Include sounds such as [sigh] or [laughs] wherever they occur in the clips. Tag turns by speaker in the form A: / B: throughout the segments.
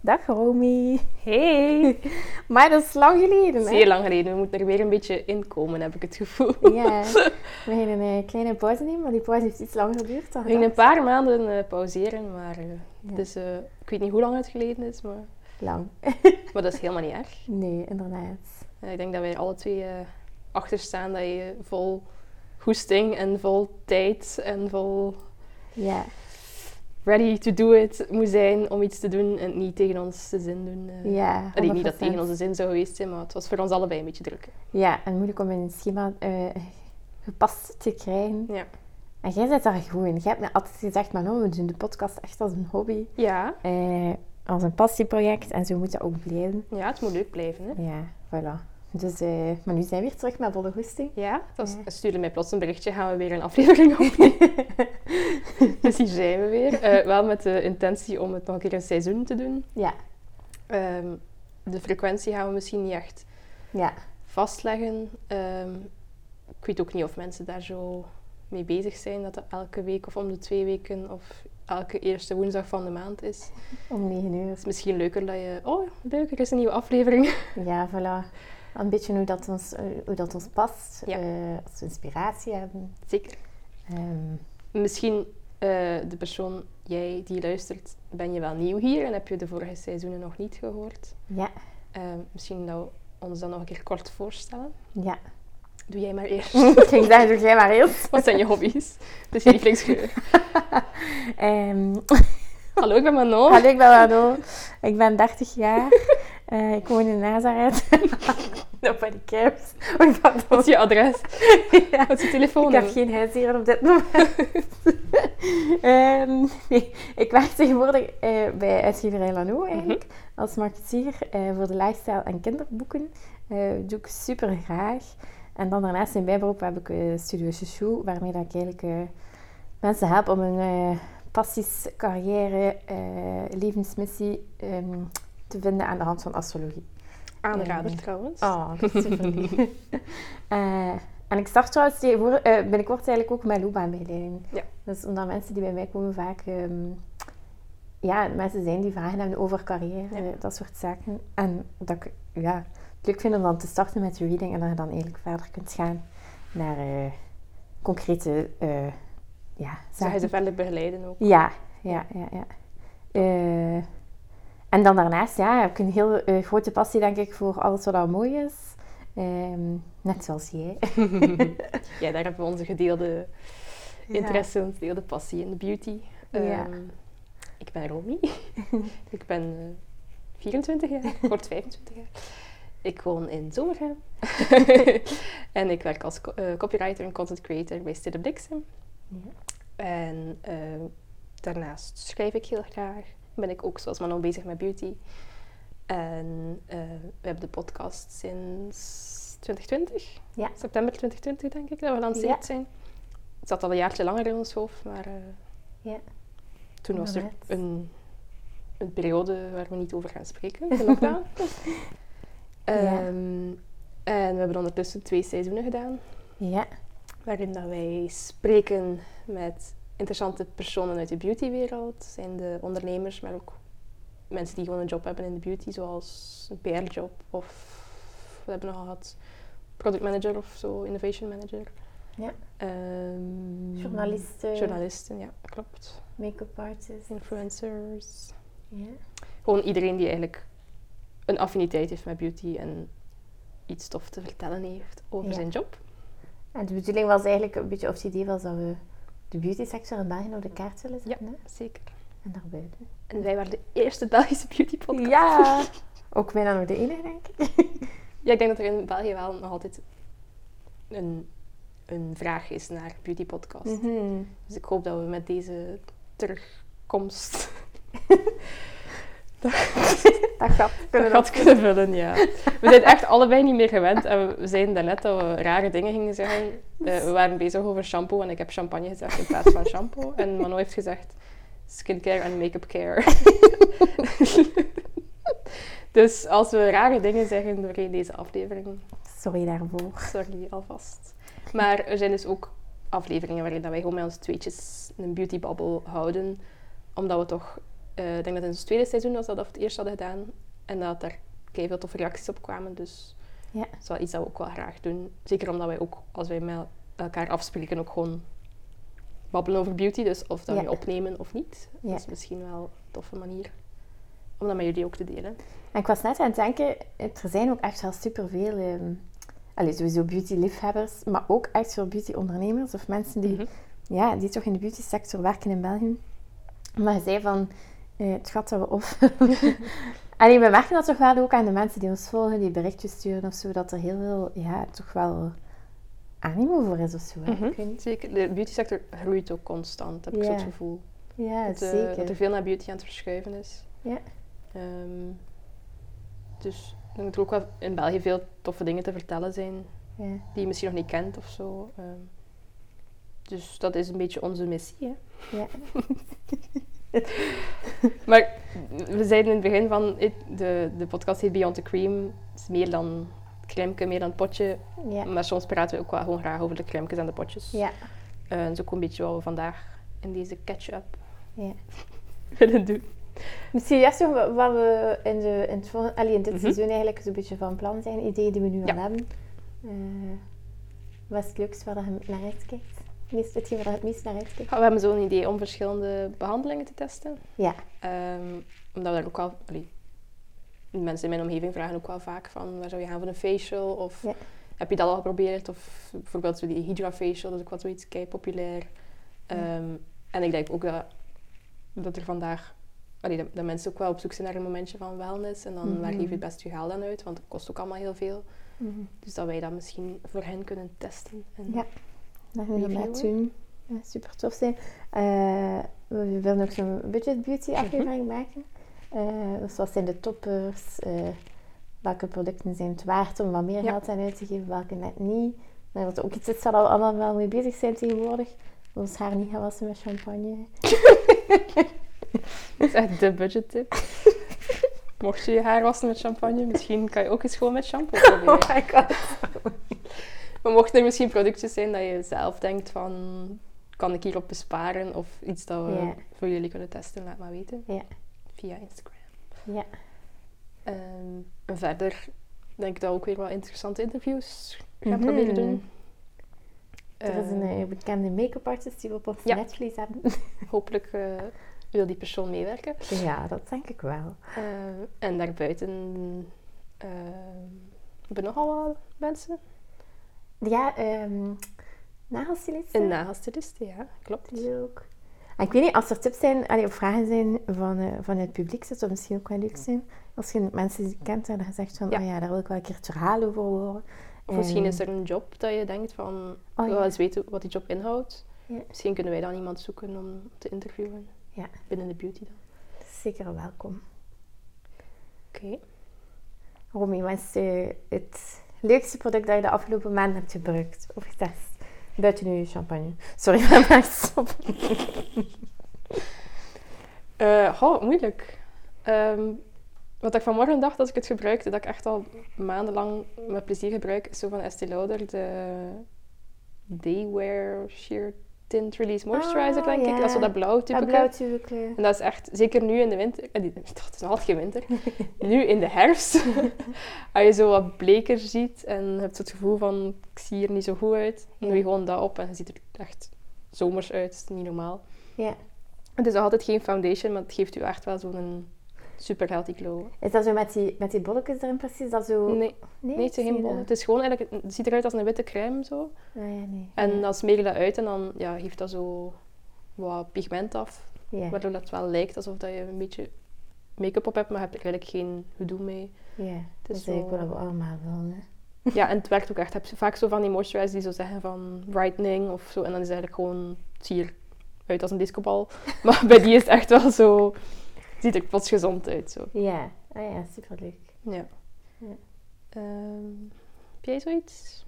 A: Dag Romy.
B: Hey!
A: [laughs] Maar dat is lang geleden, hè?
B: Zeer lang geleden. We moeten er weer een beetje inkomen, heb ik het gevoel.
A: Ja. We gingen een kleine pauze nemen, maar die pauze heeft iets langer geduurd dan
B: [laughs] We gingen een
A: gedacht.
B: paar maanden eh, pauzeren, maar eh,
A: Ja.
B: dus, eh, ik weet niet hoe lang het geleden is, maar,
A: Lang.
B: maar dat is helemaal niet erg.
A: Nee, inderdaad.
B: Eh, ik denk dat wij alle twee eh, achter staan dat je vol goesting en vol tijd en vol
A: Ja.
B: ready to do it moet zijn om iets te doen en het niet tegen ons de zin doen. eh.
A: Ja,
B: Allee, niet dat het
A: 100%.
B: tegen onze zin zou geweest zijn, maar het was voor ons allebei een beetje druk.
A: Ja, en moeilijk om in een schema eh, gepast te krijgen.
B: Ja.
A: En jij bent daar goed in. Jij hebt me altijd gezegd, maar nou, we doen de podcast echt als een hobby.
B: Ja,
A: eh, als een passieproject en zo moet dat ook blijven.
B: ja het moet leuk blijven. Hè?
A: Ja, voilà. Dus, eh, maar nu zijn we weer terug met volle goesting.
B: Ja, dat
A: Ja.
B: stuurde mij plots een berichtje, gaan we weer een aflevering opnemen. [laughs] dus hier zijn we weer. Eh, wel met de intentie om het nog een keer een seizoen te doen.
A: Ja,
B: Ehm, de frequentie gaan we misschien niet echt
A: ja.
B: vastleggen. Ehm, ik weet ook niet of mensen daar zo mee bezig zijn, dat dat elke week of om de twee weken of elke eerste woensdag van de maand is. Het
A: om 9 uur.
B: is misschien leuker dat je... Oh, leuk, er is een nieuwe aflevering. [laughs]
A: Ja, voilà. Een beetje hoe dat ons, eh, hoe dat ons past.
B: Ja.
A: eh, als we inspiratie hebben.
B: Zeker.
A: Ehm,
B: Misschien eh, de persoon, jij die luistert, ben je wel nieuw hier en heb je de vorige seizoenen nog niet gehoord.
A: ja,
B: Eh, misschien dat we ons dan nog een keer kort voorstellen.
A: ja.
B: Doe jij maar [laughs] eerst.
A: Ik ging zeggen, doe jij maar eerst.
B: Wat zijn je hobby's? Wat is je lievelingskleur?
A: Ehm,
B: Hallo, ik ben Manon.
A: hallo, ik ben Wado. Ik ben 30 jaar. Eh, ik woon in Nazareth. [laughs] Dat ben ik caps. Oh,
B: Wat
A: pardon.
B: is je adres?
A: [laughs] Ja.
B: Wat is je telefoon?
A: Ik heb geen huisdieren op dit
B: [laughs]
A: moment. Ehm, nee, ik werk tegenwoordig eh, bij uitgeverij Lano eigenlijk.
B: Mhm.
A: Als marketeer eh, voor de lifestyle en kinderboeken. Eh, doe ik super graag. En dan daarnaast in bijberoep heb ik eh, Studio Chouchou, waarmee dat ik eigenlijk eh, mensen help om hun eh, passies, carrière, eh, levensmissie ehm, te vinden aan de hand van astrologie.
B: Aanrader
A: Ja.
B: trouwens.
A: Oh, dat is super
B: [laughs]
A: lief. Eh, en ik start trouwens tegenwoordig- eh, binnenkort eigenlijk ook met loopbaanbegeleiding.
B: Ja.
A: Dus omdat mensen die bij mij komen vaak... ehm, ja, mensen zijn die vragen hebben over carrière,
B: Ja.
A: dat soort zaken. En dat ik ja, het leuk vind om dan te starten met de reading en dat je dan eigenlijk verder kunt gaan naar eh, concrete eh ja,
B: Zou
A: zaken.
B: hij ze verder begeleiden [laughs] ook?
A: Ja, ja, ja, ja. Eh, en dan daarnaast ja, heb ik een heel eh, grote passie, denk ik, voor alles wat al mooi is. Ehm, net zoals jij. [laughs]
B: Ja, daar hebben we onze gedeelde interesse, onze gedeelde passie in de beauty.
A: Ja.
B: Ehm, ik ben Romy. ik ben eh, 24 jaar, word 25 jaar. Ik woon in Zomerheim. [laughs] en ik werk als co- eh, copywriter en content creator bij Stille Bliksem.
A: Ja.
B: En ehm, daarnaast schrijf ik heel graag. Ben ik ook, zoals Manon, bezig met beauty. En eh, we hebben de podcast sinds 2020.
A: Ja.
B: September 2020 denk ik dat we gelanceerd
A: Ja.
B: zijn. Het zat al een jaartje langer in ons hoofd, maar eh,
A: Ja.
B: toen was er
A: Inderdaad.
B: een, een periode waar we niet over gaan spreken,
A: [laughs]
B: de lockdown. [laughs] Ehm, En we hebben ondertussen twee seizoenen gedaan,
A: Ja,
B: waarin dat wij spreken met interessante personen uit de beautywereld. Dat zijn de ondernemers, maar ook mensen die gewoon een job hebben in de beauty, zoals een PR-job of we hebben nog gehad product manager of zo, innovation manager.
A: Ja.
B: Ehm,
A: journalisten,
B: Journalisten, ja, klopt.
A: make-up artists.
B: Influencers.
A: Ja.
B: Gewoon iedereen die eigenlijk een affiniteit heeft met beauty en iets tof te vertellen heeft over
A: Ja.
B: zijn job.
A: En de bedoeling was eigenlijk een beetje, of het idee was dat we de beauty sector in België op de kaart willen
B: Ja.
A: zetten. hè?
B: Zeker.
A: En daarbuiten.
B: En wij waren de eerste Belgische beauty podcast.
A: Ja! [laughs] Ook bijna nog de enige, denk ik.
B: Ja, ik denk dat er in België wel nog altijd een, een vraag is naar beauty podcast.
A: Mhm.
B: Dus ik hoop dat we met deze terugkomst
A: Dat gat kunnen we
B: dat kunnen vullen, ja. We zijn echt allebei niet meer gewend. En we- we zeiden daarnet dat we rare dingen gingen zeggen. Eh, we waren bezig over shampoo en ik heb champagne gezegd in plaats van shampoo. En Manon heeft gezegd skincare en make-up care. [laughs] dus als we rare dingen zeggen doorheen deze aflevering,
A: Sorry daarvoor.
B: sorry alvast. Maar er zijn dus ook afleveringen waarin dat wij gewoon met ons tweetjes een beauty bubble houden. Omdat we toch eh, ik denk dat in ons tweede seizoen was dat we dat voor het eerst hadden gedaan. En dat er veel toffe reacties op kwamen. Dus
A: Ja.
B: dat is wel iets dat we ook wel graag doen. Zeker omdat wij ook, als wij met elkaar afspreken, ook gewoon babbelen over beauty. Dus of dat
A: Ja.
B: we opnemen of niet.
A: Ja.
B: Dat is misschien wel een toffe manier om dat met jullie ook te delen.
A: En ik was net aan het denken, het- er zijn ook echt wel superveel, ehm allee, sowieso beauty-liefhebbers, maar ook echt veel beauty-ondernemers of mensen die,
B: Mhm.
A: ja, die toch in de beauty-sector werken in België. Maar je zei van, eh, het gat dat we op.
B: [laughs]
A: allee, we merken dat toch wel ook aan de mensen die ons volgen, die berichtjes sturen of zo, dat er heel veel, ja, toch wel animo voor is of zo. hè.
B: Mhm.
A: Ik weet niet.
B: Zeker, de beautysector groeit ook constant, heb ik zo het
A: Ja.
B: gevoel.
A: Ja,
B: dat, eh,
A: zeker.
B: dat er veel naar beauty aan het verschuiven is.
A: Ja.
B: Ehm, dus ik denk dat er ook wel in België veel toffe dingen te vertellen zijn
A: Ja.
B: die je misschien nog niet kent of zo. Ehm, dus dat is een beetje onze missie. Hè?
A: Ja.
B: [laughs] maar we zeiden in het begin van het- de, de podcast heet Beyond the Cream. Het is meer dan het crèmeke, meer dan het potje.
A: Ja.
B: Maar soms praten we ook wel gewoon graag over de crèmekes en de potjes.
A: Ja.
B: Eh, dat is ook een beetje wat we vandaag in deze catch-up
A: Ja.
B: [laughs] willen doen.
A: Misschien juist nog wa- wat we in, de, in, het volgende, allee, in dit
B: Mhm.
A: seizoen eigenlijk zo'n beetje van plan zijn. Ideeën die we nu
B: Ja.
A: al hebben. Eh, wat is het leukste waar je naar uitkijkt? Meest, hetgeen waar je het meest naar uitkijkt?
B: Ja, We hebben zo'n idee om verschillende behandelingen te testen.
A: Ja.
B: Ehm, omdat we daar ook wel... allee, mensen in mijn omgeving vragen ook wel vaak van... Waar zou je gaan voor een facial? Of
A: Ja.
B: heb je dat al geprobeerd? Of bijvoorbeeld zo die Hydra facial. Dat is ook wat zoiets kei populair. Ehm, En ik denk ook dat, dat er vandaag... allee, dat, dat mensen ook wel op zoek zijn naar een momentje van wellness. En dan waar
A: Mhm.
B: geef je het best je geld aan uit? Want het kost ook allemaal heel veel. Dus dat wij dat misschien voor hen kunnen testen. En
A: Ja. Dat gaan we
B: Reviewen.
A: inderdaad doen. Ja, super tof zijn. Eh, we willen ook zo'n budget beauty
B: Mhm.
A: aflevering maken. Eh, dus wat zijn de toppers? Eh, welke producten zijn het waard om wat meer
B: Ja.
A: geld aan uit te geven? Welke net niet? Maar dat ook iets is waar we allemaal wel mee bezig zijn tegenwoordig. Ons haar niet gaan wassen met champagne.
B: Dat [laughs] is echt
A: [laughs]
B: de budgettip. Mocht je je haar wassen met champagne, misschien kan je ook eens gewoon met shampoo [laughs] proberen.
A: [laughs] my god.
B: Maar mochten er misschien productjes zijn dat je zelf denkt van... Kan ik hierop besparen? Of iets dat we
A: Ja.
B: voor jullie kunnen testen, laat maar weten.
A: Ja.
B: Via Instagram.
A: Ja.
B: Ehm, en verder denk ik dat we ook weer wel interessante interviews gaan
A: Mhm.
B: proberen doen.
A: Er is een
B: Ehm,
A: eh, bekende make-up artist die we op ons
B: Ja.
A: netvlies hebben. [laughs]
B: Hopelijk eh, wil die persoon meewerken.
A: ja, dat denk ik wel.
B: Eh, en daarbuiten eh, hebben we nogal wel mensen.
A: Ja, ehm nagelstylisten.
B: Een nagelstyliste, ja, klopt.
A: Die ook. En ik weet niet, als er tips zijn, allee, of vragen zijn van, eh, van het publiek, zou dat misschien ook wel leuk zijn. Als je mensen die kent en je zegt van,
B: Ja.
A: oh ja, daar wil ik wel een keer het verhaal over horen.
B: Of misschien
A: Ehm,
B: is er een job dat je denkt van,
A: Oh
B: ik wil
A: ja.
B: wel eens weten wat die job inhoudt.
A: Ja.
B: Misschien kunnen wij dan iemand zoeken om te interviewen.
A: Ja.
B: Binnen de beauty dan.
A: Zeker welkom.
B: Oké.
A: Romy, wat is eh, het leukste product dat je de afgelopen maanden hebt gebruikt of getest? Buiten nu je champagne. Sorry, [laughs] maar maar stop.
B: Eh, goh, moeilijk. Ehm, wat ik vanmorgen dacht als ik het gebruikte, dat ik echt al maandenlang met plezier gebruik, is zo van Estee Lauder, de Daywear Sheer Tint Release Moisturizer,
A: Ah,
B: denk ik.
A: ja.
B: Dat is zo dat blauw type.
A: Dat blauw eh, tubuke.
B: En dat is echt, zeker nu in de winter, eh, die- [laughs] dat is nog altijd geen winter,
A: [laughs]
B: nu in de herfst, als je zo wat bleker ziet en je hebt zo het gevoel van, ik zie er niet zo goed uit, dan doe je
A: Ja.
B: gewoon dat op en je ziet er echt zomers uit, dat is niet normaal.
A: Ja.
B: Het is nog altijd geen foundation, maar het geeft u echt wel zo'n super healthy glow.
A: Is dat zo met die, met die bolletjes erin precies? Dat zo...
B: Nee, nee, het
A: zie
B: is
A: je dat?
B: geen bol. Het is gewoon eigenlijk, het ziet eruit als een witte crème zo.
A: Ah ja, nee.
B: En dan smeer je dat uit en dan ja, geeft dat zo wat pigment af.
A: Ja,
B: Waardoor dat wel lijkt alsof dat je een beetje make-up op hebt, maar je hebt er eigenlijk geen gedoe mee.
A: ja. dat is
B: zo- eh,
A: eigenlijk wat we allemaal willen. hè.
B: Ja, en het werkt ook echt. Je hebt vaak zo van die moisturizers die zo zeggen van brightening of zo. En dan is het eigenlijk gewoon, het ziet eruit als een discobal. [laughs] Maar bij die is het echt wel zo, het ziet er plots gezond uit zo.
A: Ja, ah ja, superleuk.
B: Ja.
A: Ja.
B: Ehm, heb jij zoiets?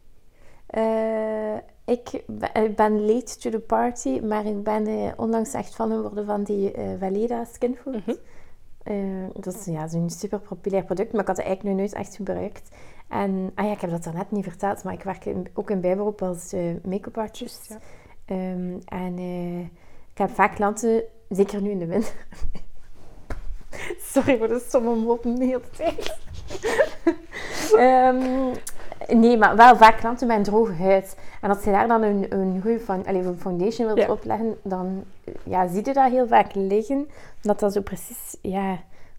A: Eh, ik, be- ik ben late to the party, maar ik ben eh, onlangs echt fan geworden van die eh Valeda Skinfood.
B: Mhm.
A: Eh, dat is ja, zo'n super populair product, maar ik had het eigenlijk nog nooit echt gebruikt. En ah ja, ik heb dat daarnet niet verteld, maar ik werk in- ook in bijberoep als eh, make-up artist.
B: Juist, ja.
A: Ehm, en eh, ik heb vaak klanten, zeker nu in de winter, [laughs] Sorry voor de stomme moppen de hele tijd. [laughs] Ehm, nee, maar wel vaak klanten met een droge huid. En als je daar dan een, een goede fan- allee, een foundation wilt
B: Ja.
A: opleggen, dan eh, ja, zie je dat heel vaak liggen. Omdat dat zo precies, ja,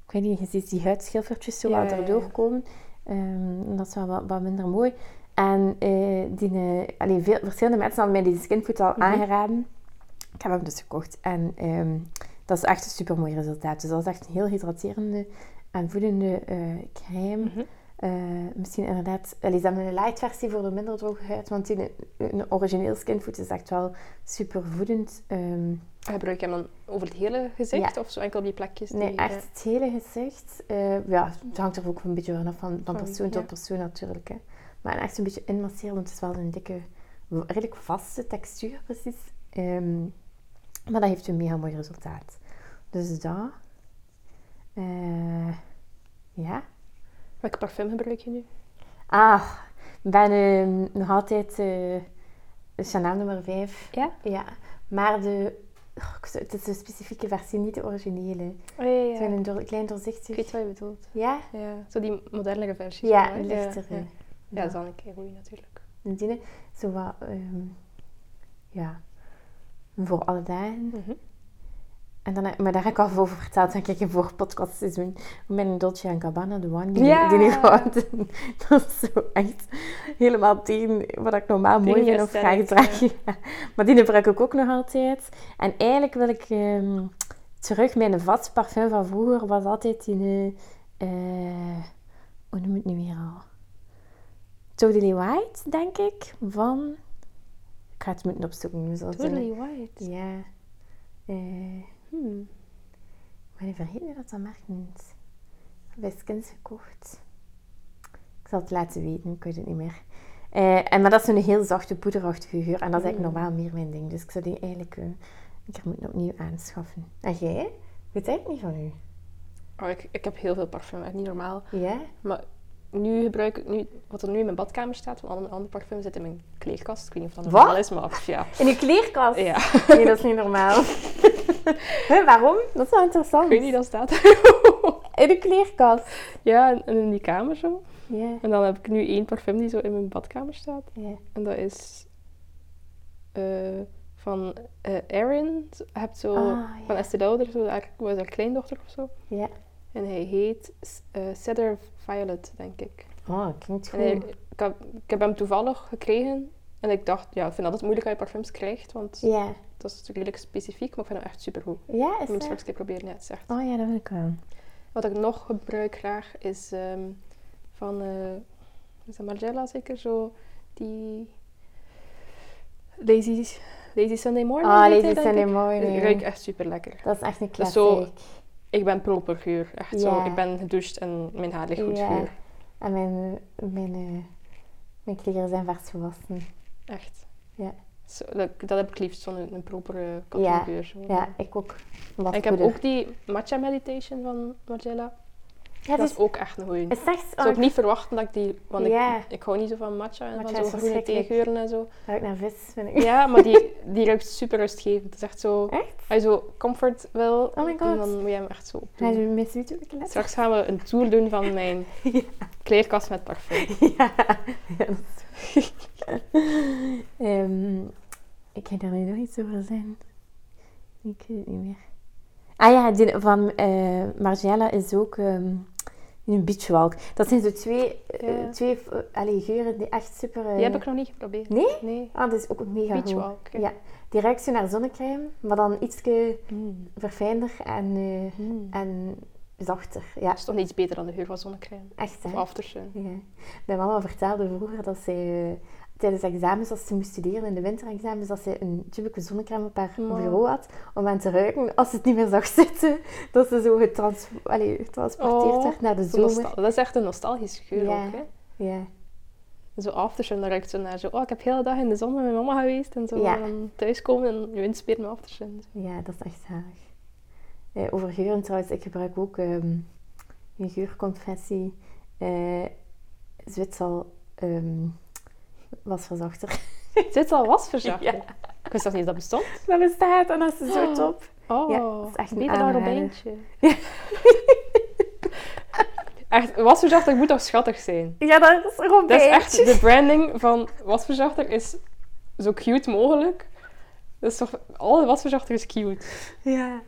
A: ik weet niet, je ziet die huidschilfertjes zo
B: Ja,
A: wat
B: ja, ja.
A: erdoor komen. Ehm, dat is wel wat, wat minder mooi. En eh, die, eh, allee, veel, verschillende mensen hadden mij deze skinfood al
B: Mhm.
A: aangeraden. Ik heb hem dus gekocht. En ehm, dat is echt een super mooi resultaat. Dus dat is echt een heel hydraterende en voedende eh, crème.
B: Mhm.
A: Eh, misschien inderdaad, allee, is dat een light versie voor de minder droge huid? Want die, een origineel skinfood is echt wel super voedend. Ehm,
B: Gebruik je hem dan over het hele gezicht of zo enkel op die plekjes?
A: Nee,
B: die,
A: echt het hele gezicht. eh, ja, het hangt er ook een beetje vanaf van, van
B: Van,
A: persoon
B: ja.
A: tot persoon natuurlijk. Hè. Maar echt een beetje inmasseren, want het is wel een dikke, w- redelijk vaste textuur precies. Ehm, maar dat heeft een mega mooi resultaat. Dus dat. Eh, ja.
B: eh, Welk parfum gebruik je nu?
A: Ah, ik ben eh, nog altijd eh Chanel nummer 5.
B: Ja?
A: Ja. Maar de, oh, ik zou- het is een specifieke versie, niet de originele.
B: Oh, ja, ja.
A: Het zijn
B: ja.
A: een door, klein
B: Ik
A: doorzichtig.
B: weet wat je bedoelt.
A: Ja?
B: Ja. Zo die modernere versie.
A: Ja,
B: zo, hè?
A: een lichtere. Ja,
B: Ja, ja. Ja, dat is dan een keer goed natuurlijk.
A: Nadien, zo wat, ehm, ja, voor alle dagen.
B: Mhm.
A: En dan, heb- maar daar heb ik al over verteld, denk ik, in voor podcast seizoen. Mijn Dolce Gabbana, de one die,
B: Ja.
A: die ik had. [laughs] Dat is zo echt helemaal tegen wat ik normaal mooi
B: Tegen je
A: vind of graag
B: aesthetic,
A: draag. Ja. [laughs] Maar die gebruik ik ook nog altijd. En eigenlijk wil ik ehm, terug, mijn vast parfum van vroeger was altijd die... eh, eh, hoe noem ik het nu weer al? Totally White, denk ik, van... Ik ga het moeten opzoeken. dus nu zal het zijn.
B: Totally white.
A: Ja. Eh,
B: Hmm.
A: maar ik vergeet nu dat dat merk niet. Bij Skins gekocht. Ik zal het laten weten, ik weet het niet meer. Eh, en, maar dat is een heel zachte, poederachtige geur. En dat is eigenlijk
B: Mm.
A: normaal meer mijn ding. Dus ik zou die eigenlijk eh, een keer moeten opnieuw aanschaffen. En jij? Ik weet het eigenlijk niet van u.
B: Oh, ik, ik heb heel veel parfum, echt niet normaal.
A: Ja?
B: Maar nu gebruik ik nu, wat er nu in mijn badkamer staat, van al mijn andere parfum zit in mijn kleerkast. Ik weet niet of dat
A: Wat?
B: normaal is, maar ja.
A: In uw kleerkast?
B: ja.
A: Nee, dat is niet normaal. [laughs] Hè, waarom? Dat is wel
B: Ik
A: interessant.
B: weet niet, dat staat
A: In uw kleerkast?
B: [laughs] Ja, en- en in die kamer zo.
A: Ja.
B: En dan heb ik nu één parfum die zo in mijn badkamer staat.
A: ja.
B: En dat is eh, van eh Aaron. Je hebt zo
A: Ah,
B: van
A: ja.
B: Estée Lauder, zo haar, was haar kleindochter of zo.
A: Ja.
B: En hij heet S- eh, Cedar Violet, denk ik.
A: Oh, klinkt goed.
B: En hij- ik, heb, ik heb hem toevallig gekregen. En ik dacht, ja, ik vind altijd moeilijk dat je parfums krijgt, want
A: Ja.
B: dat is natuurlijk redelijk specifiek, maar ik vind hem echt supergoed.
A: Ja, is
B: Ik moet het
A: dat?
B: straks een keer proberen, ja, het is echt
A: Oh ja, dat wil ik wel.
B: Wat ik nog gebruik graag is ehm, van, eh is dat Margiela zeker? Zo die Lazy, lazy Sunday Morning.
A: Ah,
B: heet hij,
A: deze
B: denk
A: zijn
B: ik.
A: mooi.
B: Die
A: nee.
B: ruikt echt super lekker.
A: Dat is echt een
B: Dat is
A: klassiek.
B: zo- Ik ben proper geur, echt zo.
A: Ja.
B: Ik ben gedoucht en mijn haar ligt goed
A: Ja.
B: geur.
A: En mijn, mijn, eh, mijn kleren zijn vers gewassen.
B: Echt.
A: Ja.
B: Zo, dat, dat heb ik liefst, zo'n een propere
A: Ja.
B: katoengeur. zo.
A: Ja, ik ook. Wat
B: En ik heb
A: goeder.
B: ook die matcha meditation van Margiela.
A: Ja,
B: dat
A: dus,
B: is ook echt een goeie.
A: het is echt...
B: Ik
A: Oh,
B: zou
A: ik
B: ook niet verwachten dat ik die... Want
A: Ja.
B: ik, ik hou niet zo van matcha en
A: Matcha
B: van
A: is
B: zo'n groene
A: verschrikkelijk.
B: theegeuren en
A: [laughs]
B: zo.
A: ruikt naar vis, vind ik.
B: Ja, maar die, die ruikt super rustgevend. Het is echt zo...
A: Echt?
B: Als je zo comfort wil,
A: Oh my
B: doen,
A: god.
B: dan moet je hem echt zo
A: Ga je
B: opdoen.
A: met zoet op de [laughs]
B: Straks gaan we een tour doen van mijn kleerkast met parfum.
A: Ja. [laughs] ja dat is waar. Ehm, ik ga daar nu nog iets over zijn. Ik weet het niet meer. Ah ja, die van eh Margiela is ook ehm, een beachwalk. Dat zijn zo twee, eh,
B: Ja.
A: twee eh, allee, geuren die echt super... eh,
B: Die heb ik nog niet geprobeerd.
A: Nee?
B: Nee.
A: Ah, dat is ook mega goed.
B: Beachwalk.
A: Ja, die ruikt zo naar zonnecrème, maar dan ietsje
B: Mm.
A: verfijnder en, eh,
B: Mm.
A: en zachter. Ja,
B: Dat is toch niets beter dan de geur van zonnecrème.
A: echt hè.
B: Of aftersun.
A: Ja. Mijn mama vertelde vroeger dat zij eh, tijdens examens, als ze moest studeren in de winterexamens, dat ze een tubeke zonnecrème op haar
B: Maar-
A: bureau had om aan te ruiken als ze het niet meer zag zitten. [laughs] Dat ze zo getrans allee, getransporteerd
B: Oh,
A: werd naar de
B: Zo
A: zomer.
B: nostal- Dat is echt een nostalgische geur
A: Ja.
B: ook, hè.
A: Ja.
B: Zo aftersun, dat ruikt zo naar zo... Oh, ik heb de hele dag in de zon met mijn mama geweest en zo.
A: Ja.
B: En dan thuiskomen en je inspeert met aftersun.
A: ja, dat is echt zalig. Eh, over geuren trouwens, ik gebruik ook ehm, een geurconfessie. eh Zwitsal ehm, was verzachter.
B: [laughs] Dit al was
A: [laughs]
B: verzacht.
A: Ja.
B: Ik wist zelfs niet dat dat bestond.
A: Dat bestaat en dat is zo top.
B: Oh,
A: Ja, dat is echt een
B: beter dan
A: aanrader.
B: Robijntje. [laughs] Echt, wasverzachter moet toch schattig zijn?
A: Ja, dat is er een
B: Dat is
A: beetje.
B: echt de branding van wasverzachter is zo cute mogelijk. Dat is toch... Alle wasverzachter is cute.
A: Ja.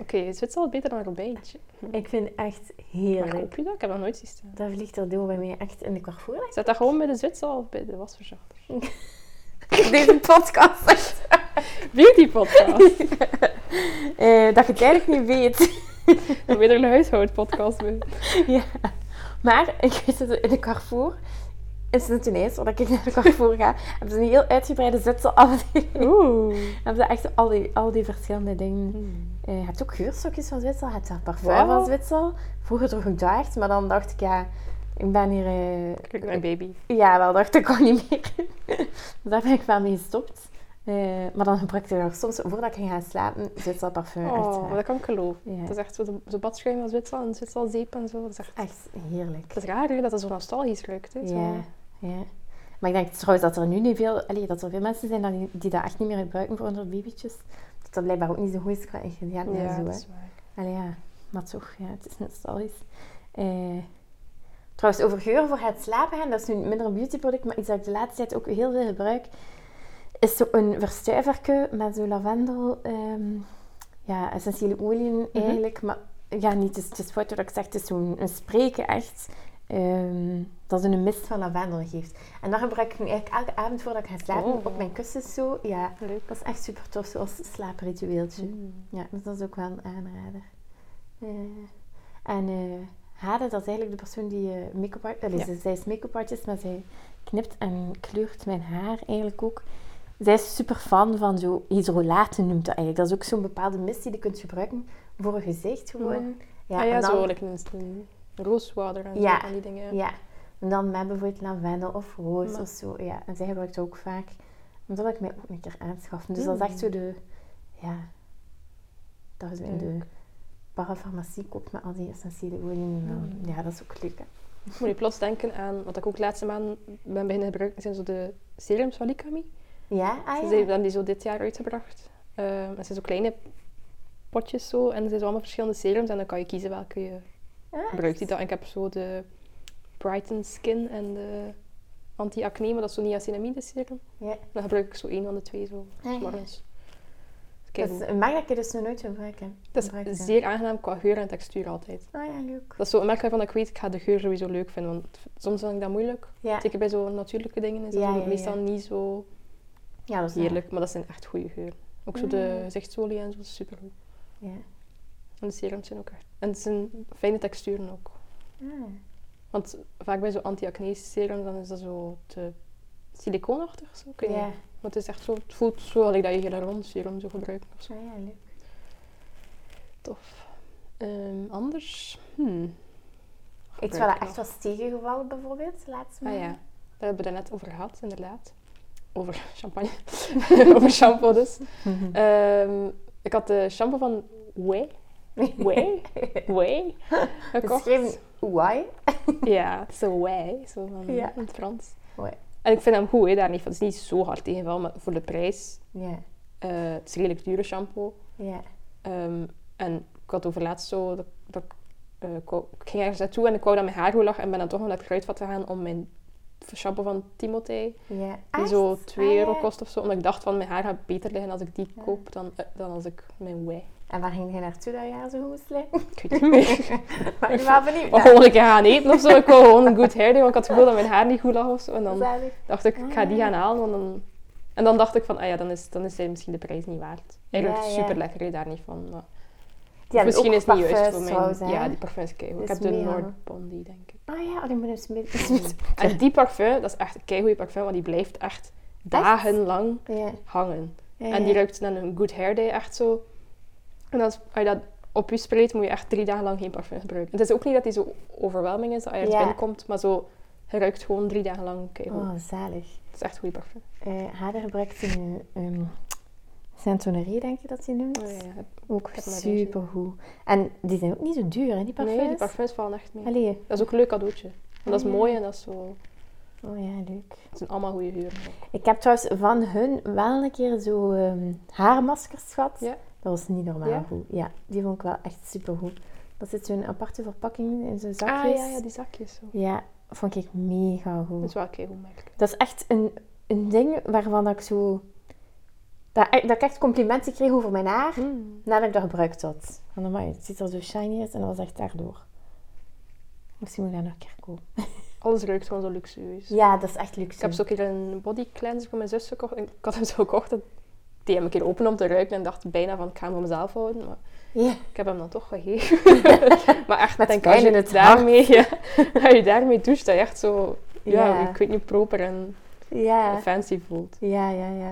B: Oké, het zit al beter dan een robijntje.
A: Ik vind het echt
B: Waar
A: heerlijk.
B: koop je dat? Ik heb dat nooit zien staan.
A: Dat vliegt er door bij mij echt in de Carrefour.
B: Zet dat gewoon bij de Zwitserland of bij de wasverzachter?
A: Deze podcast.
B: Beauty podcast.
A: [laughs] Eh, dat je het eigenlijk niet weet. [laughs]
B: Dan ben je er een huishoudpodcast bij.
A: Maar ik weet dat in de Carrefour, in Sint-Tunis, waar ik naar de Carrefour ga, hebben ze een heel uitgebreide [laughs] zitselafdeling.
B: Oeh.
A: Hebben ze echt al die, al die verschillende dingen. Eh, je hebt ook geurstokjes van Zwitser, je hebt daar parfum
B: Wow.
A: van Zwitser. Vroeger droeg ik dat echt, maar dan dacht ik, ja, ik ben hier... eh,
B: Kijk naar een baby.
A: ja, wel dacht ik al niet meer. dus daar ben ik wel mee gestopt. Eh, maar dan gebruikte ik daar soms, voordat ik ging gaan slapen, Zwitser parfum. echt,
B: Oh,
A: waar.
B: maar dat kan ik geloven.
A: Ja,
B: Dat is echt zo, de, zo badschuim van Zwitserland en Zwitserland zeep en zo. Dat is echt...
A: echt heerlijk.
B: Het is raar hè, dat het zo nostalgisch ruikt. Hè? Zo-
A: Ja, ja. Maar ik denk trouwens dat er nu niet veel, allee, dat er veel mensen zijn die, die dat echt niet meer gebruiken voor hun babytjes. Dat dat blijkbaar ook niet zo goed is qua ingrediënten en
B: Ja,
A: zo. hè.
B: dat is waar.
A: Allee, ja, maar toch, ja, het is nostalgisch. Eh trouwens, over geur voor het slapen gaan, dat is nu minder een beautyproduct, maar iets dat ik de laatste tijd ook heel veel gebruik, is zo'n verstuiverke met zo lavendel, ehm, ja, essentiële oliën
B: Mhm.
A: eigenlijk. Maar ja, niet, het is, het is fout wat ik zeg, het is zo'n een spreken echt, ehm, dat een mist van lavendel geeft. En dat gebruik ik nu eigenlijk elke avond voordat ik ga slapen,
B: Oh.
A: op mijn kussens zo. Ja,
B: Leuk.
A: dat is echt super tof, zoals slaapritueeltje. Ja, dus dat is ook wel een aanrader. Eh, en eh Hade, dat is eigenlijk de persoon die eh make-up art- allee,
B: Ja.
A: ze- zij is make-up artist, maar zij knipt en kleurt mijn haar eigenlijk ook. Zij is super fan van zo hydrolaten noemt dat eigenlijk. Dat is ook zo'n bepaalde mist die je kunt gebruiken voor je gezicht gewoon.
B: Ja, ah, ja
A: en dan-
B: zo like een, een rooswater en zo,
A: Ja.
B: van die dingen.
A: ja. En dan met bijvoorbeeld lavendel of roos
B: Maar-
A: of zo. Ja, en zij gebruikt dat ook vaak. Maar dat wil ik mij ook een keer aanschaffen. Dus dat
B: Mm.
A: is echt zo de... Ja. Dat is in de parafarmacie koopt met al die essentiële oliën. en dan-
B: Mm.
A: Ja, dat is ook leuk. hè.
B: Ik moet nu plots denken aan, wat ik ook laatste maand ben beginnen gebruiken, zijn zo de serums van Likami.
A: Ja? Ah,
B: Ze
A: ja.
B: hebben die zo dit jaar uitgebracht. Ehm, en het zijn zo kleine potjes zo. En er zijn zo allemaal verschillende serums. En dan kan je kiezen welke je
A: Ah,
B: gebruikt. Die dat. En ik heb zo de Brighten Skin en de anti-acne. Maar dat is zo niacinamide serum.
A: Ja.
B: Dan gebruik ik zo één van de twee zo.
A: Ah, ja.
B: 's morgens. Dus kijk,
A: Dat is een merk dat ik dus nog nooit gebruikt heb.
B: dat
A: Gebruikt heb.
B: is zeer aangenaam qua geur en textuur altijd.
A: Ah ja, leuk.
B: Dat is zo een merk waarvan ik weet, ik ga de geur sowieso leuk vinden. Want soms vind ik dat moeilijk.
A: Ja,
B: Zeker bij zo'n natuurlijke dingen is dat
A: Ja,
B: zo
A: ja,
B: meestal
A: ja.
B: niet zo
A: ja dat is waar.
B: heerlijk. Maar dat zijn echt goede geuren. Ook zo de
A: Mm.
B: gezichtsolie en zo, super goed.
A: Ja.
B: En de serums zijn ook echt... En het zijn fijne texturen ook.
A: Ah,
B: Want vaak bij zo'n anti-acne serum, dan is dat zo te siliconachtig. Zo. Ik weet
A: ja.
B: niet. Maar het is echt zo... Het voelt zo alsof dat je hyaluron serum zo gebruikt of zo.
A: Ah, ja, leuk.
B: Tof. Ehm, anders... Hmm.
A: Ik
B: Gebruik
A: zou dat
B: ik
A: echt was tegengevallen bijvoorbeeld, laatst
B: Ah
A: maar.
B: ja, daar hebben we daarnet over gehad, inderdaad. Over champagne. [laughs] over shampoo dus. Ehm, ik had de shampoo van Way.
A: [laughs]
B: Way? Way?
A: Geschreven why?
B: Ja,
A: [laughs]
B: het is een Way, zo van
A: Ja.
B: in het Frans.
A: Why.
B: En ik vind hem goed, hè, daar niet van. Het is niet zo hard tegenval, maar voor de prijs.
A: Ja,
B: eh, het is redelijk dure shampoo.
A: ja.
B: Ehm, en ik had overlaatst zo... Dat, dat, ik, eh, ik wou- ik ging ergens naartoe en ik wou dat mijn haar goed lag. En ben dan toch naar het kruidvat gegaan om mijn shampoo van Timothée
A: Ja.
B: die
A: Echt?
B: zo 2
A: Ah, ja.
B: euro kost of zo. Omdat ik dacht van mijn haar gaat beter liggen als ik die
A: Ja.
B: koop dan, eh, dan als ik mijn wij.
A: En waar ging jij naartoe dat jaar zo goed moest liggen?
B: Ik weet niet [laughs] meer.
A: [laughs] Maar ik ben wel benieuwd.
B: Of gewoon een keer gaan eten of zo. Ik wou gewoon een good hair doen, want ik had het gevoel dat mijn haar niet goed lag of zo. En dan
A: Zalig.
B: dacht ik, ik ga
A: Ah.
B: die gaan halen. Want dan... En dan dacht ik van, ah ja, dan is, dan is zij misschien de prijs niet waard. Eigenlijk
A: Ja, ja.
B: super lekker, hè, daar niet van. maar-
A: Die
B: Of
A: hebben ook
B: misschien
A: eh,
B: is het niet juist
A: parfums
B: voor mij.
A: trouwens, hè?
B: ja, die parfum is keigoed. Ik
A: Dat
B: heb
A: is
B: de
A: mega.
B: Noord Bondi, denk ik.
A: Oh ja, oh, die moet hem smitten.
B: [laughs]
A: smitten.
B: En die parfum, dat is echt een keigoed parfum, want die blijft echt dagenlang
A: Ja.
B: hangen.
A: Ja,
B: En die
A: ja.
B: ruikt dan een good hair day echt zo. En als, als je dat op je spreekt, moet je echt drie dagen lang geen parfum gebruiken. Het is ook niet dat die zo overwhelming is, dat je ergens
A: Ja.
B: binnenkomt, maar zo, je ruikt gewoon drie dagen lang. Kijk,
A: Oh, zalig.
B: Het is echt goede parfum.
A: Eh Hader gebruikt een um, Saint-Honoré, denk je dat hij noemt.
B: Oh, ja, ja.
A: Ook
B: heb maar eentje.
A: supergoed. En die zijn ook niet zo duur, hè, die parfums?
B: Nee, die parfums vallen echt mee.
A: Allee.
B: Dat is ook een leuk cadeautje. Want dat is
A: Ah, ja.
B: mooi en dat is zo...
A: Oh ja, leuk.
B: Het zijn allemaal goede huren.
A: Ik heb trouwens van hun wel een keer zo ehm, haarmaskers gehad.
B: Ja.
A: Dat was niet normaal
B: Ja?
A: goed. Ja, die vond ik wel echt supergoed. Daar zit zo'n aparte verpakking in, zo'n zakjes.
B: Ah ja, ja, die zakjes zo.
A: Ja, vond ik mega
B: Dat is
A: goed.
B: wel keigoed merk.
A: Dat is echt een, een ding waarvan ik zo... Dat, e-, dat ik echt complimenten kreeg over mijn haar,
B: Hmm.
A: nadat ik dat gebruikt had. Van, amai, het ziet er zo shiny uit en dat was echt daardoor. Misschien moet ik daar nog een keer komen.
B: Alles ruikt gewoon zo luxueus.
A: Ja, dat is echt luxe.
B: Ik heb zo een keer een body cleanser van mijn zus gekocht. Ik had hem zo gekocht. dat- Die heb ik een keer open om te ruiken en dacht bijna van ik ga hem voor mezelf houden. Maar
A: Ja.
B: ik heb hem dan toch gegeven. [laughs] maar echt,
A: Met
B: denk,
A: pijn
B: als je
A: in het hart.
B: daarmee, [laughs] ja, als je daarmee doucht, dat je echt zo, ja,
A: Ja.
B: ik weet niet, proper en
A: Ja.
B: fancy voelt.
A: Ja, ja, ja.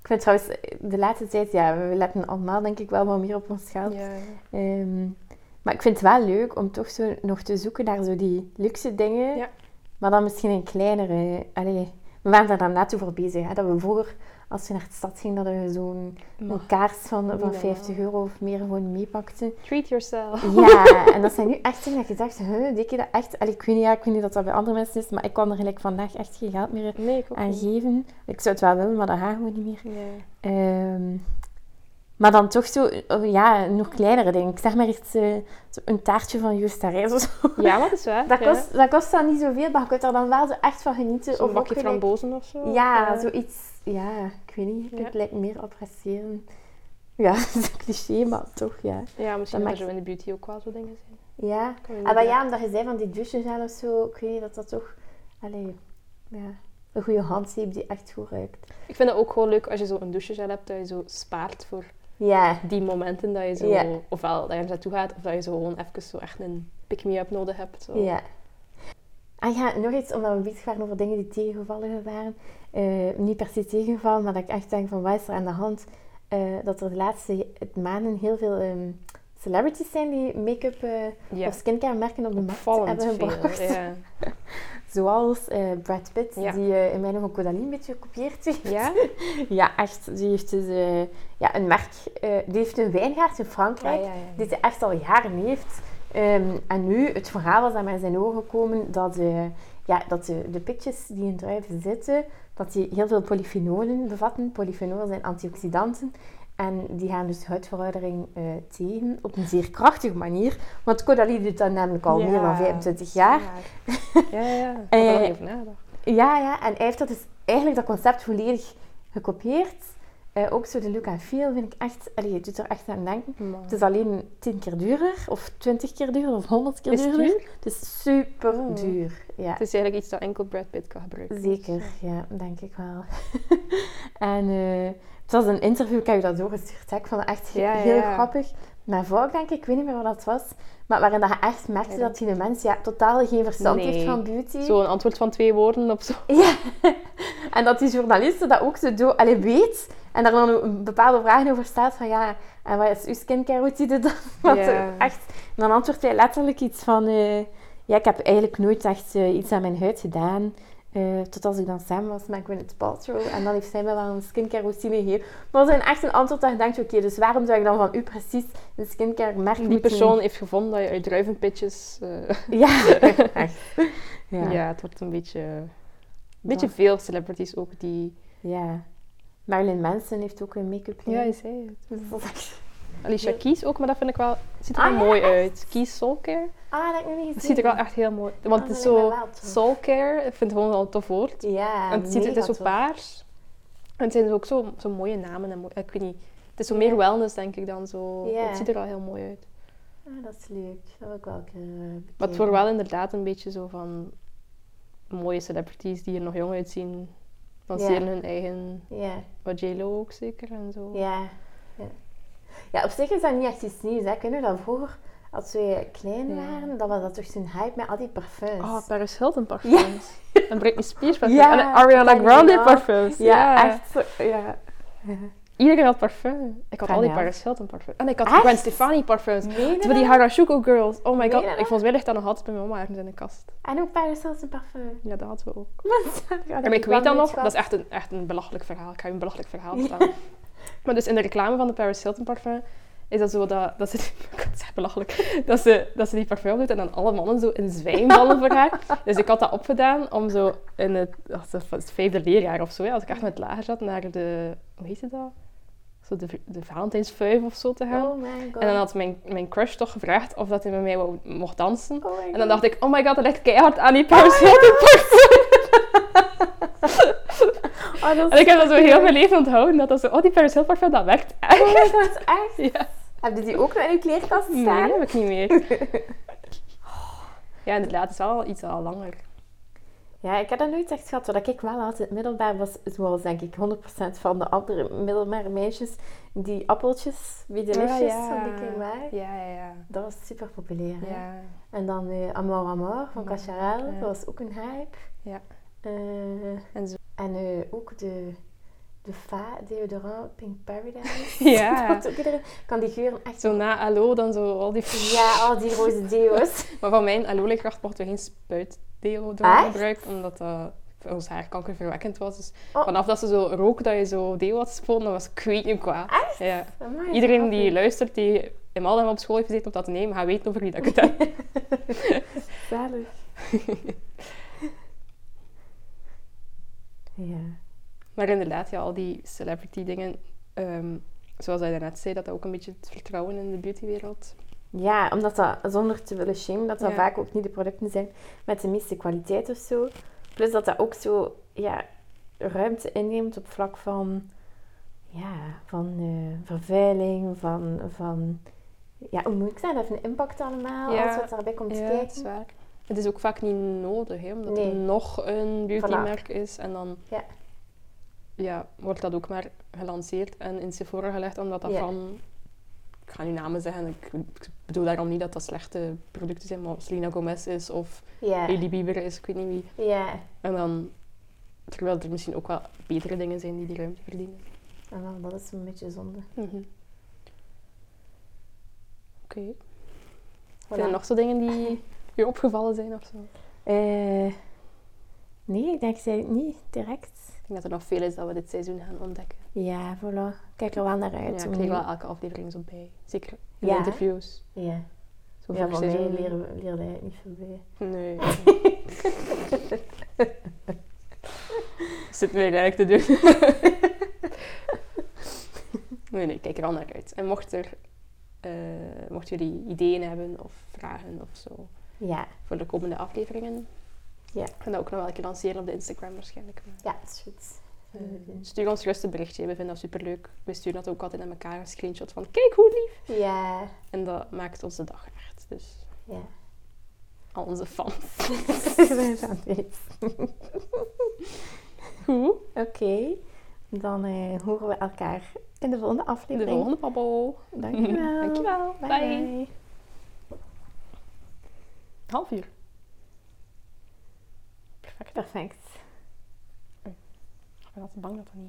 A: Ik vind trouwens, eh, de laatste tijd, ja, we letten allemaal denk ik wel wat meer op ons geld.
B: Ja.
A: Ehm, maar ik vind het wel leuk om toch zo nog te zoeken naar zo die luxe dingen.
B: Ja.
A: Maar dan misschien een kleinere. Allee, we waren daar dan net toe voor bezig. Hè, dat we vroeger, als je naar de stad ging, dat we zo'n een
B: Maar
A: kaars van,
B: Niet
A: van
B: normaal.
A: 50 euro of meer gewoon meepakten.
B: treat yourself.
A: Ja, en dat zijn nu echt dingen dat je dacht, huh, denk je dat echt? Allee, ik weet niet, ja, ik weet niet dat dat bij andere mensen is, maar ik kwam er gelijk vandaag echt geen geld meer
B: Nee, ik ook
A: aan
B: niet.
A: geven. Ik zou het wel willen, maar dat gaan we niet meer.
B: Ja.
A: Ehm, maar dan toch zo, oh ja, nog kleinere dingen. Ik zeg maar iets, eh, zo een taartje van Justa Reis of zo.
B: ja, maar dat is waar.
A: [laughs] Dat
B: ja.
A: kost, dat kost dan niet zoveel, maar je kunt er dan wel zo echt van genieten.
B: Zo'n
A: Of
B: bakje
A: ook gelijk-
B: frambozen of zo.
A: Ja,
B: Eh,
A: zoiets. Ja, ik weet niet. Ik
B: Ja.
A: het lijkt meer appreciëren. Ja, [laughs] dat is een cliché, maar toch, ja.
B: Ja, misschien
A: dat
B: dat
A: maakt-
B: er zo in de beauty ook wel zo dingen zijn.
A: Ja,
B: Kan je
A: ah, maar
B: niet-
A: ja, omdat je zei van die douches en of zo, ik weet niet, dat dat toch... Allee, ja. Een goede handzeep die echt goed ruikt.
B: Ik vind het ook gewoon leuk als je zo een douchegel hebt, dat je zo spaart voor
A: Ja,
B: die momenten dat je zo,
A: Ja.
B: ofwel dat je er naartoe gaat, of dat je zo gewoon even zo echt een pick-me-up nodig hebt. Zo.
A: Ja. Ah ja, nog iets, omdat we bezig waren over dingen die tegengevallen waren. Eh, niet per se tegengevallen, maar dat ik echt denk van, wat is er aan de hand? Eh, dat er de laatste maanden heel veel ehm, celebrities zijn die make-up eh,
B: Ja.
A: of skincare merken op de markt
B: Opvallend
A: hebben
B: veel.
A: gebracht.
B: Ja.
A: Zoals eh, Brad Pitt,
B: Ja.
A: die eh, in mijn ogen Caudalie een beetje gekopieerd heeft.
B: ja?
A: [laughs] Ja, echt. Die heeft dus eh, ja, een merk, eh, die heeft een wijngaard in Frankrijk
B: ja, ja.
A: die hij echt al jaren heeft. Ehm, en nu, het verhaal was aan mij in zijn ogen gekomen dat, eh, ja, dat de, de pitjes die in druiven zitten, dat die heel veel polyphenolen bevatten. Polyphenolen zijn antioxidanten. En die gaan dus huidveroudering eh, tegen op een zeer krachtige manier. Want Caudalie doet dat namelijk al meer dan 25 jaar.
B: Ja, ja. Ik had
A: Eh,
B: er nog niet over nagedacht.
A: Ja, ja. En hij heeft dat dus eigenlijk dat concept volledig gekopieerd. Eh, ook zo de look en feel vind ik echt... Allee, je doet er echt aan denken.
B: Mm.
A: Het
B: Dus-
A: is alleen 10 keer duurder, of 20 keer duurder, of 100 keer
B: Is het
A: duurder.
B: duur?
A: Het is super
B: Oh.
A: duur. Ja,
B: Het is eigenlijk iets dat enkel Brad Pitt kan gebruiken.
A: zeker.
B: Dus,
A: Ja, denk ik wel. [laughs] en eh, het was een interview, ik heb je dat doorgestuurd. hè. Ik vond het echt he-
B: Ja, ja,
A: heel
B: ja.
A: grappig. Mijn vrouw, denk ik, ik weet niet meer wat dat was. Maar waarin dat je echt merkte
B: Ja.
A: dat die mens ja, totaal geen verstand
B: Nee.
A: heeft van beauty.
B: ja. Zo'n antwoord van twee woorden op zo.
A: Ja. [laughs] En dat die journaliste dat ook zo do- allee, weet. En daar dan een bepaalde vraag over staat van ja, en wat is uw skincare routine dan? [laughs] Want
B: Ja.
A: eh, echt, en dan antwoordt hij letterlijk iets van eh, ja, ik heb eigenlijk nooit echt eh, iets aan mijn huid gedaan. eh, tot als ik dan samen was met Gwyneth Paltrow. En dan heeft zij mij wel een skincare routine gegeven. Maar dat is echt een antwoord dat je denkt, oké, dus waarom zou ik dan van u precies een skincare merk
B: Die
A: moeten-
B: persoon heeft gevonden dat je uit druivenpitjes... eh,
A: [laughs]
B: [laughs]
A: Ja, echt.
B: ja.
A: Ja. Ja.
B: het wordt een beetje... Een beetje veel celebrities ook die...
A: Marilyn Manson heeft ook een make-up lijn.
B: zei het.
A: Dus dat is echt-
B: Alicia Keys ook, maar dat vind ik wel... Het ziet er
A: Ah,
B: wel
A: ja,
B: mooi
A: echt?
B: uit. Keys Soulcare.
A: Ah, dat heb ik nog niet
B: Het ziet er wel echt heel mooi uit. Want
A: Ah,
B: het is
A: dat lijkt
B: zo...
A: mij wel tof.
B: Soulcare, ik vind het gewoon al een tof woord.
A: Ja,
B: en het, ziet, er- het is
A: mega
B: zo
A: tof.
B: paars. En het zijn dus ook zo, zo mooie namen. En mooi- ik weet niet. Het is zo meer wellness, denk ik, dan zo...
A: Ja.
B: Het ziet er al heel mooi uit.
A: Ah, dat is leuk. Dat wil ik wel een keer eh, bekijken.
B: Maar het wordt wel inderdaad een beetje zo van... Mooie celebrities die er nog jong uitzien. Lanceren hun eigen...
A: Ja,
B: Wat J-Lo ook zeker en zo.
A: ja. ja. Ja, op zich is dat niet echt iets nieuws. Hè. Kunnen dat vroeger, als we klein
B: Ja.
A: waren, dan was dat toch zo'n hype met al die parfums.
B: Oh, Paris Hilton parfums. [laughs] En Britney Spears parfums.
A: Ja,
B: en een Ariana
A: Kylie
B: Grande
A: Minogue.
B: parfums.
A: ja, echt. zo- Ja.
B: Iedereen had parfum. Ik had
A: Van
B: al die
A: jou?
B: Paris Hilton parfums. En ik had
A: Echt?
B: Gwen Stefani parfums.
A: Meen je
B: Van die
A: dat?
B: Harajuku girls. Oh my
A: Meen je
B: god.
A: dat?
B: Ik vond mij ligt dat nog altijd bij mijn mama ergens in de kast.
A: En ook Paris Hilton
B: [laughs]
A: parfum.
B: Ja, dat hadden we ook.
A: ja,
B: maar ik weet dat nog. Dat is echt een, echt een belachelijk verhaal. Ik ga je een belachelijk verhaal [laughs]
A: Ja.
B: vertellen. Maar dus in de reclame van de Paris Hilton parfum... Is dat zo dat, dat ze... [laughs] Het is echt belachelijk. Dat ze, dat ze die parfum doet en dan alle mannen zo in zwijm vallen voor [laughs] haar. Dus ik had dat opgedaan om zo in het, ach, dat was het vijfde leerjaar of zo, hè, als ik echt met het lager zat, naar de, hoe heette dat? zo de, de Valentijnsvuif of zo te gaan.
A: Oh my god.
B: En dan had mijn, mijn crush toch gevraagd of dat hij met mij wou, mocht dansen.
A: Oh my
B: En dan dacht ik, oh my god, dat ligt keihard aan die persoon.
A: god. [laughs] Oh, dat
B: en
A: is
B: ik heb dat zo heel
A: superleuk.
B: mijn leven onthouden. Dat dat zo, oh die Paris Hilford film, dat werkt
A: Oh
B: echt.
A: my god, echt?
B: [laughs] Ja.
A: Heb je die ook nog in uw kleerkast
B: Nee,
A: staan?
B: dat heb ik niet [laughs] meer. Ja, inderdaad, het is wel iets al langer.
A: Ja, ik heb dat nooit echt gehad. Wat ik wel had in het middelbaar was, zoals denk ik 100% van de andere middelbare meisjes, die appeltjes, wie de
B: Ja,
A: lusjes,
B: Ah, ja.
A: van die klein waren.
B: Ja, ja, ja.
A: Dat was super populair. hè.
B: ja.
A: En dan eh, Amour Amour van
B: Ja.
A: Cacharel,
B: Ja.
A: dat was ook een hype.
B: Ja.
A: Eh,
B: En zo.
A: en eh, ook de, de Fa deodorant Pink Paradise.
B: [laughs] Ah, Ja. [laughs]
A: dat ook iedereen, kan die geuren echt...
B: Zo na Allo, dan zo al die...
A: Ja, al die roze
B: [laughs]
A: deo's.
B: Maar van mijn Allo-leerkracht mochten we geen spuitdeo
A: Echt?
B: gebruiken, omdat dat voor ons haarkankerverwekkend was. Dus
A: Oh.
B: vanaf dat ze zo rook dat je zo deo had spoten, dat was ik weet niet kwaad.
A: Echt?
B: Ja.
A: Amai,
B: Iedereen
A: grappig.
B: die luistert, die in Maldem op school heeft gezeten op dat neem, gaat weten over wie dat ik het heb.
A: Zalig. [laughs] ja.
B: Maar inderdaad, ja, al die celebrity dingen, ehm, zoals hij daarnet zei, dat dat ook een beetje het vertrouwen in de beautywereld.
A: Ja, omdat dat, zonder te willen shamen, dat dat
B: Ja.
A: vaak ook niet de producten zijn met de meeste kwaliteit of zo. Plus dat dat ook zo, ja, ruimte inneemt op vlak van, ja, van eh, vervuiling, van, van, ja, hoe moet ik zeggen, dat heeft een impact allemaal,
B: Ja.
A: alles wat daarbij komt
B: Ja, dat
A: kijken.
B: is waar. Het is ook vaak niet nodig, hè, omdat
A: Nee.
B: er nog een beautymerk is en dan
A: Ja.
B: ja, wordt dat ook maar gelanceerd en in Sephora gelegd, omdat dat
A: Ja.
B: van... Ik ga nu namen zeggen, ik, ik bedoel daarom niet dat dat slechte producten zijn, maar Selena Gomez is of
A: Ja,
B: Hailey Bieber is, ik weet niet wie.
A: ja,
B: En dan, terwijl er misschien ook wel betere dingen zijn die die ruimte verdienen.
A: en dan, Ah, dat is een beetje zonde.
B: Mhm. Oké.
A: Voilà.
B: Zijn er nog zo dingen [laughs] die je opgevallen zijn of zo? Ik
A: Eh, nee, ik denk zij niet direct.
B: denk dat er nog veel is dat we dit seizoen gaan ontdekken.
A: Ja, voilà. Ik Kijk er wel naar
B: Ja, ik
A: uit. om
B: kreeg
A: nu-
B: wel elke aflevering zo bij. Zeker in
A: Ja.
B: de interviews.
A: Ja,
B: Zo
A: ja
B: vorig
A: van mij
B: seizoen.
A: leren, leren wij het niet veel bij.
B: [laughs] Nee. Zit mij eigenlijk te doen. [laughs] nee, nee, ik kijk er al naar uit. En mocht er, eh, mocht jullie ideeën hebben of vragen of zo
A: Ja,
B: voor de komende afleveringen,
A: Ja.
B: ik ga dat ook nog wel een keer lanceren op de Instagram waarschijnlijk. Maar,
A: ja, dat is goed.
B: eh,
A: Mhm.
B: stuur ons gerust een berichtje, we vinden dat superleuk. We sturen dat ook altijd aan elkaar, een screenshot van kijk hoe lief.
A: Ja,
B: En dat maakt onze dag echt. Dus
A: [laughs] ja.
B: al onze fans.
A: Ik ben het aan het [laughs] weten.
B: Goed,
A: Oké, dan eh, horen we elkaar in de volgende
B: de
A: aflevering.
B: volgende babbel.
A: [laughs] Dankjewel.
B: Dankjewel.
A: Bye.
B: Bye.
A: bye.
B: Half uur.
A: Perfect.
B: Ik ben altijd bang dat dat niet...